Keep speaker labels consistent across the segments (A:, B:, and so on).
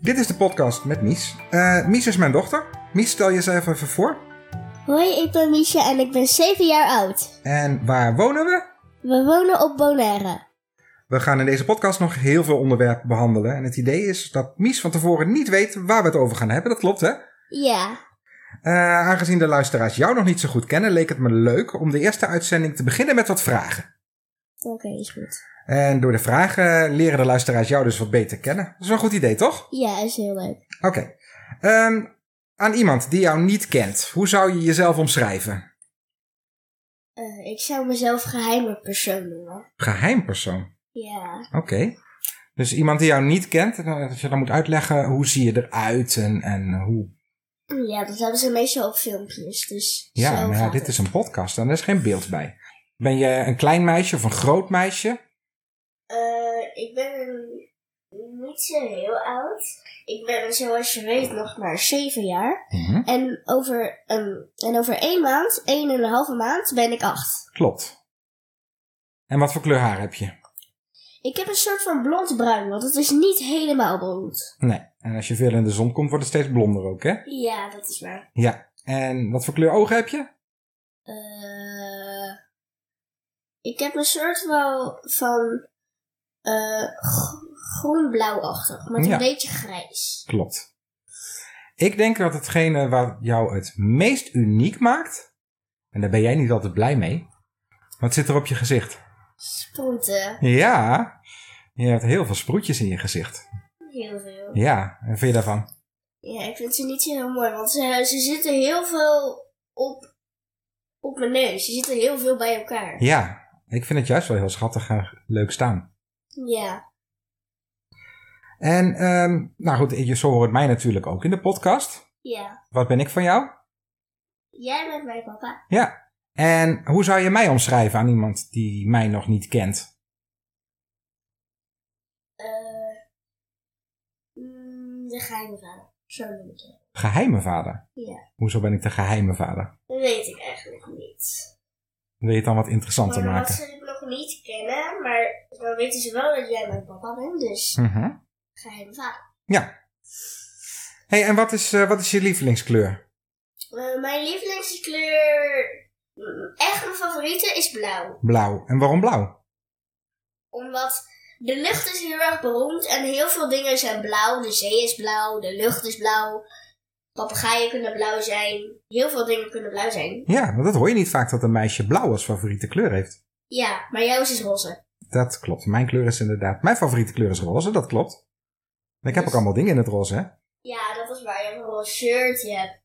A: Dit is de podcast met Mies. Eh, Mies is mijn dochter. Mies, stel jezelf even voor.
B: Hoi, ik ben Miesje en ik ben 7 jaar oud.
A: En waar wonen we?
B: We wonen op Bonaire.
A: We gaan in deze podcast nog heel veel onderwerpen behandelen. En het idee is dat Mies van tevoren niet weet waar we het over gaan hebben. Dat klopt, hè?
B: Ja,
A: Eh, aangezien de luisteraars jou nog niet zo goed kennen, leek het me leuk om de eerste uitzending te beginnen met wat vragen.
B: oké, is goed.
A: En door de vragen leren de luisteraars jou dus wat beter kennen. Dat is wel een goed idee, toch?
B: Ja, is heel leuk.
A: Oké. Ehm, aan iemand die jou niet kent, hoe zou je jezelf omschrijven?
B: Eh, ik zou mezelf geheime persoon noemen.
A: Geheim persoon.
B: Ja,
A: Oké. Dus iemand die jou niet kent, eh, als je dan moet uitleggen hoe zie je eruit en, en hoe.
B: ja dat hebben ze meestal op filmpjes, dus
A: Ja,
B: zo
A: maar ja,
B: gaat
A: dit
B: het.
A: is een podcast en er is geen beeld bij. Ben je een klein meisje of een groot meisje?
B: Eh, ik ben niet zo heel oud. Ik ben, zoals je weet, nog maar 7 jaar.
A: Mhm,
B: En over, een en over één maand, één en een halve maand, ben ik 8.
A: Klopt. En wat voor kleur haar heb je?
B: Ik heb een soort van blond bruin, want het is niet helemaal blond.
A: Nee. En als je veel in de zon komt, wordt het steeds blonder ook, hè?
B: Ja, dat is waar.
A: Ja. En wat voor kleur ogen heb je?
B: Eh, ik heb een soort wel van eh, gro- groen-blauwachtig, met
A: Ja.
B: een beetje grijs.
A: Klopt. Ik denk dat hetgene wat jou het meest uniek maakt, en daar ben jij niet altijd blij mee, wat zit er op je gezicht?
B: Sproeten,
A: Ja, je hebt heel veel sproetjes in je gezicht.
B: heel veel.
A: Ja, en vind je daarvan?
B: Ja, ik vind ze niet zo heel mooi, want ze, ze zitten heel veel op, op mijn neus. Ze zitten heel veel bij elkaar.
A: Ja, ik vind het juist wel heel schattig en leuk staan.
B: Ja,
A: En, ehm, nou goed, je- zo hoort mij natuurlijk ook in de podcast.
B: ja.
A: Wat ben ik van jou?
B: Jij bent mijn papa.
A: Ja. En hoe zou je mij omschrijven aan iemand die mij nog niet kent?
B: Eh, mm, de geheime vader. Zo noem ik hem.
A: Geheime vader.
B: Ja.
A: Hoezo ben ik de geheime vader?
B: Dat weet ik eigenlijk niet.
A: Wil je het dan wat interessanter
B: Maar
A: maken?
B: omdat ze het nog niet kennen, maar dan weten ze wel dat jij mijn papa bent, dus
A: Mhm.
B: geheim vader.
A: Ja. hey, en wat is, eh, wat is je lievelingskleur?
B: Eh, mijn lievelingskleur, mm, echt mijn favoriete, is blauw.
A: Blauw. En waarom blauw?
B: Omdat de lucht is heel erg beroemd en heel veel dingen zijn blauw. De zee is blauw, de lucht is blauw, papegaaien kunnen blauw zijn. Heel veel dingen kunnen blauw zijn.
A: Ja, want dat hoor je niet vaak dat een meisje blauw als favoriete kleur heeft.
B: Ja, maar jouw is dus roze.
A: Dat klopt. Mijn kleur is inderdaad. Mijn favoriete kleur is roze, dat klopt. En ik heb ook allemaal dingen in het roze, hè?
B: Ja, dat is waar. Je hebt een roze shirt, je hebt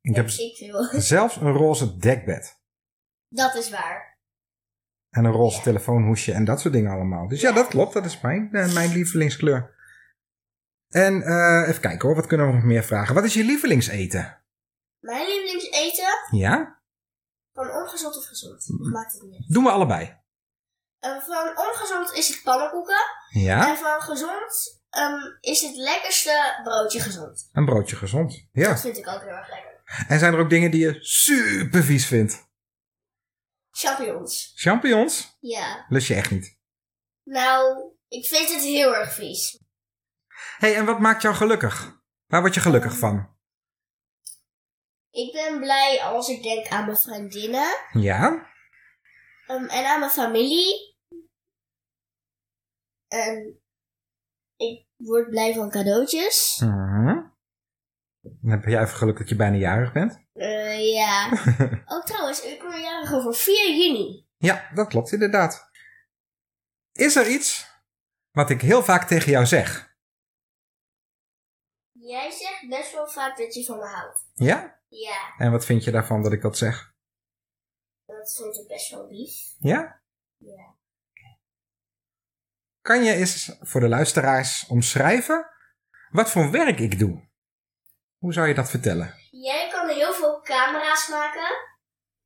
A: Ik heb
B: ik veel.
A: zelfs een roze dekbed.
B: Dat is waar.
A: En een roze telefoonhoesje en dat soort dingen allemaal. Dus ja, dat klopt. Dat is mijn, eh, mijn lievelingskleur. En eh, even kijken hoor, wat kunnen we nog meer vragen? Wat is je lievelingseten?
B: Mijn lievelingseten,
A: Ja?
B: van ongezond of gezond,
A: Hm.
B: maakt het niet uit.
A: Doen we allebei.
B: Eh, van ongezond is het pannenkoeken.
A: Ja?
B: En van gezond ehm, is het lekkerste broodje gezond.
A: Een broodje gezond. Ja.
B: Dat vind ik ook heel erg lekker.
A: En zijn er ook dingen die je super vies vindt?
B: Champignons.
A: Champignons?
B: Ja.
A: Lust je echt niet.
B: Nou, ik vind het heel erg vies.
A: hey, en wat maakt jou gelukkig? Waar word je gelukkig van?
B: Ik ben blij als ik denk aan mijn vriendinnen
A: Ja?
B: ehm, en aan mijn familie. En ik word blij van cadeautjes.
A: Mhm. Dan heb jij even geluk dat je bijna jarig bent.
B: Eh, ja. ook trouwens, ik ben jarig over 4 juni.
A: Ja, dat klopt inderdaad. Is er iets wat ik heel vaak tegen jou zeg?
B: Jij zegt best wel vaak dat je van me houdt.
A: Ja?
B: Ja.
A: En wat vind je daarvan dat ik dat zeg?
B: Dat vond ik best wel lief.
A: Ja?
B: Ja.
A: Kan je eens voor de luisteraars omschrijven wat voor werk ik doe? Hoe zou je dat vertellen?
B: Jij kan heel veel camera's maken.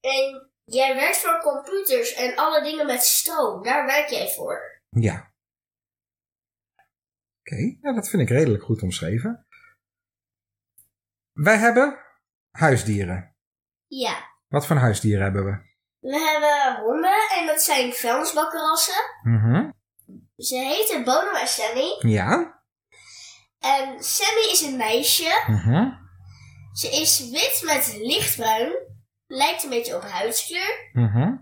B: En jij werkt voor computers en alle dingen met stroom. Daar werk jij voor.
A: Ja. Oké, ja, dat vind ik redelijk goed omschreven. Wij hebben huisdieren.
B: Ja.
A: Wat voor huisdieren hebben we?
B: We hebben honden en dat zijn vuilnisbakkerrassen.
A: Mhm.
B: Ze heten Bono en Sammy.
A: Ja,
B: En Sammy is een meisje.
A: Mhm.
B: Ze is wit met lichtbruin. Lijkt een beetje op huidskleur.
A: Mhm.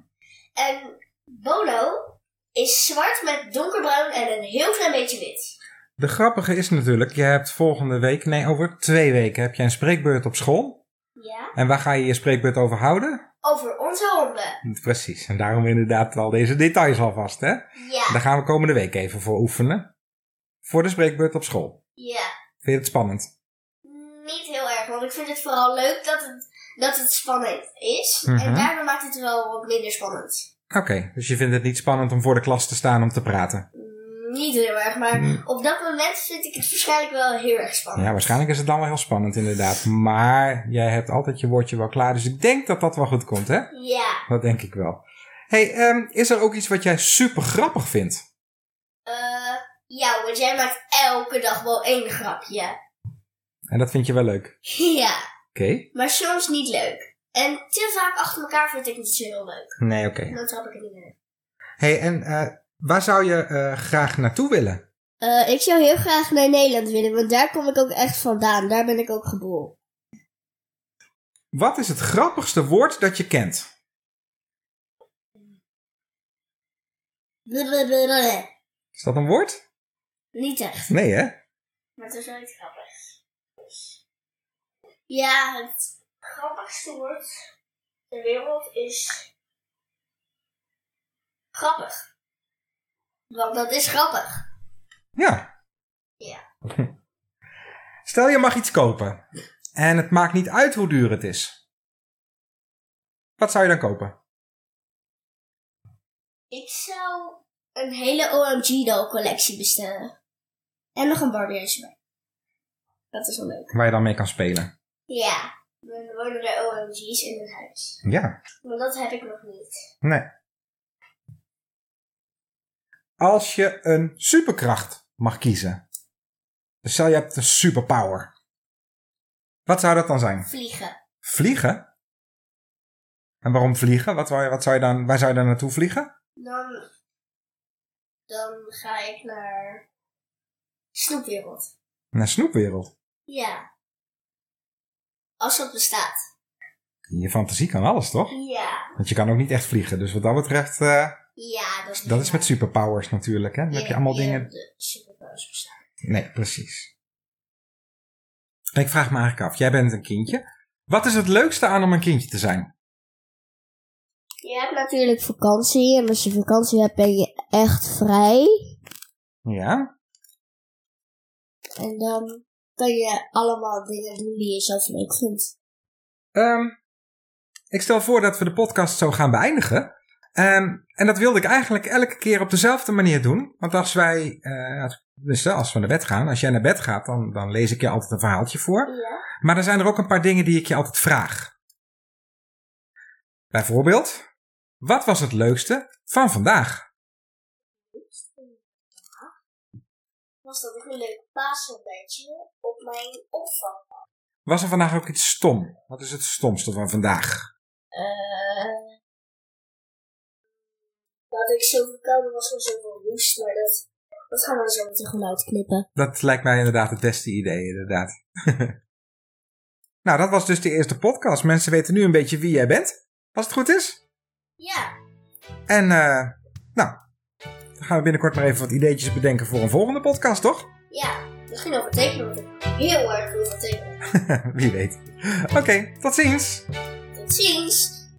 B: En Bolo is zwart met donkerbruin en een heel klein beetje wit.
A: De grappige is natuurlijk, je hebt volgende week, nee over twee weken heb jij een spreekbeurt op school.
B: Ja.
A: En waar ga je je spreekbeurt over houden?
B: Over onze honden.
A: Precies, en daarom inderdaad al deze details alvast hè.
B: Ja.
A: Daar gaan we komende week even voor oefenen. Voor de spreekbeurt op school.
B: Ja.
A: Vind je het spannend?
B: Niet heel erg, want ik vind het vooral leuk dat het, dat het spannend is.
A: Mhm.
B: En daardoor maakt het wel wat minder spannend.
A: Oké, dus je vindt het niet spannend om voor de klas te staan om te praten?
B: Mm, Niet heel erg, maar
A: Mm.
B: op dat moment vind ik het waarschijnlijk wel heel erg spannend.
A: Ja, waarschijnlijk is het dan wel heel spannend inderdaad. Maar jij hebt altijd je woordje wel klaar, dus ik denk dat dat wel goed komt hè?
B: Ja.
A: Dat denk ik wel. hey, ehm, is er ook iets wat jij super grappig vindt?
B: Eh, ja, want jij maakt elke dag wel één grapje.
A: En dat vind je wel leuk?
B: Ja,
A: Oké.
B: maar soms niet leuk. En te vaak achter elkaar vind ik niet zo heel leuk.
A: Nee, oké.
B: Dan trap ik het niet meer.
A: hey, en eh, waar zou je eh, graag naartoe willen?
B: Eh, ik zou heel graag naar Nederland willen, want daar kom ik ook echt vandaan. Daar ben ik ook geboren.
A: Wat is het grappigste woord dat je kent? Is dat een woord?
B: Niet echt.
A: Nee, hè?
B: Maar het is wel iets grappigs. Dus, Ja, het grappigste woord ter wereld is. grappig. Want dat is grappig.
A: Ja.
B: Ja.
A: Stel je mag iets kopen en het maakt niet uit hoe duur het is. Wat zou je dan kopen?
B: Ik zou een hele OMG doll collectie bestellen. En nog een Barbie huisje bij. Dat is wel leuk.
A: Waar je dan mee kan spelen.
B: Ja. Dan worden er OMG's in een huis.
A: Ja.
B: Maar dat heb ik nog niet.
A: Nee. Als je een superkracht mag kiezen. Dus stel je hebt een superpower. Wat zou dat dan zijn?
B: Vliegen.
A: Vliegen? En waarom vliegen? Wat, wou je- wat zou je dan, waar zou je dan naartoe vliegen?
B: Dan, dan ga ik naar Snoepwereld.
A: Naar Snoepwereld.
B: Ja. Als dat bestaat.
A: Je fantasie kan alles, toch?
B: Ja.
A: Want je kan ook niet echt vliegen. Dus wat dat betreft, eh,
B: Ja, dat is,
A: dat is met superpowers natuurlijk. Hè? Dan heb je allemaal dingen...
B: Superpowers bestaan.
A: Nee, precies. Ik vraag me eigenlijk af. Jij bent een kindje. Wat is het leukste aan om een kindje te zijn?
B: Je hebt natuurlijk vakantie. En als je vakantie hebt ben je echt vrij.
A: Ja,
B: En dan kan je allemaal dingen doen die je zelf leuk vindt.
A: ehm, ik stel voor dat we de podcast zo gaan beëindigen. Ehm, en dat wilde ik eigenlijk elke keer op dezelfde manier doen. Want als wij, eh, als- dus eh, als we naar bed gaan, als jij naar bed gaat, dan, dan lees ik je altijd een verhaaltje voor.
B: Ja.
A: Maar er zijn er ook een paar dingen die ik je altijd vraag. Bijvoorbeeld, wat was het leukste van vandaag?
B: Was dat ik een leuk paasontbijtje op mijn opvang?
A: Was er vandaag ook iets stom? Wat is het stomste van vandaag?
B: Eh dat ik zo verkouden was van zoveel roest, maar dat, dat gaan we zo meteen gewoon uitknippen.
A: Dat lijkt mij inderdaad het beste idee, inderdaad. nou, dat was dus de eerste podcast. Mensen weten nu een beetje wie jij bent, als het goed is.
B: Ja,
A: En, eh, nou, dan gaan we binnenkort maar even wat ideetjes bedenken voor een volgende podcast, toch?
B: ja. Misschien over tekenen, want ik heel erg veel van tekenen.
A: wie weet. Oké, tot ziens!
B: Tot ziens!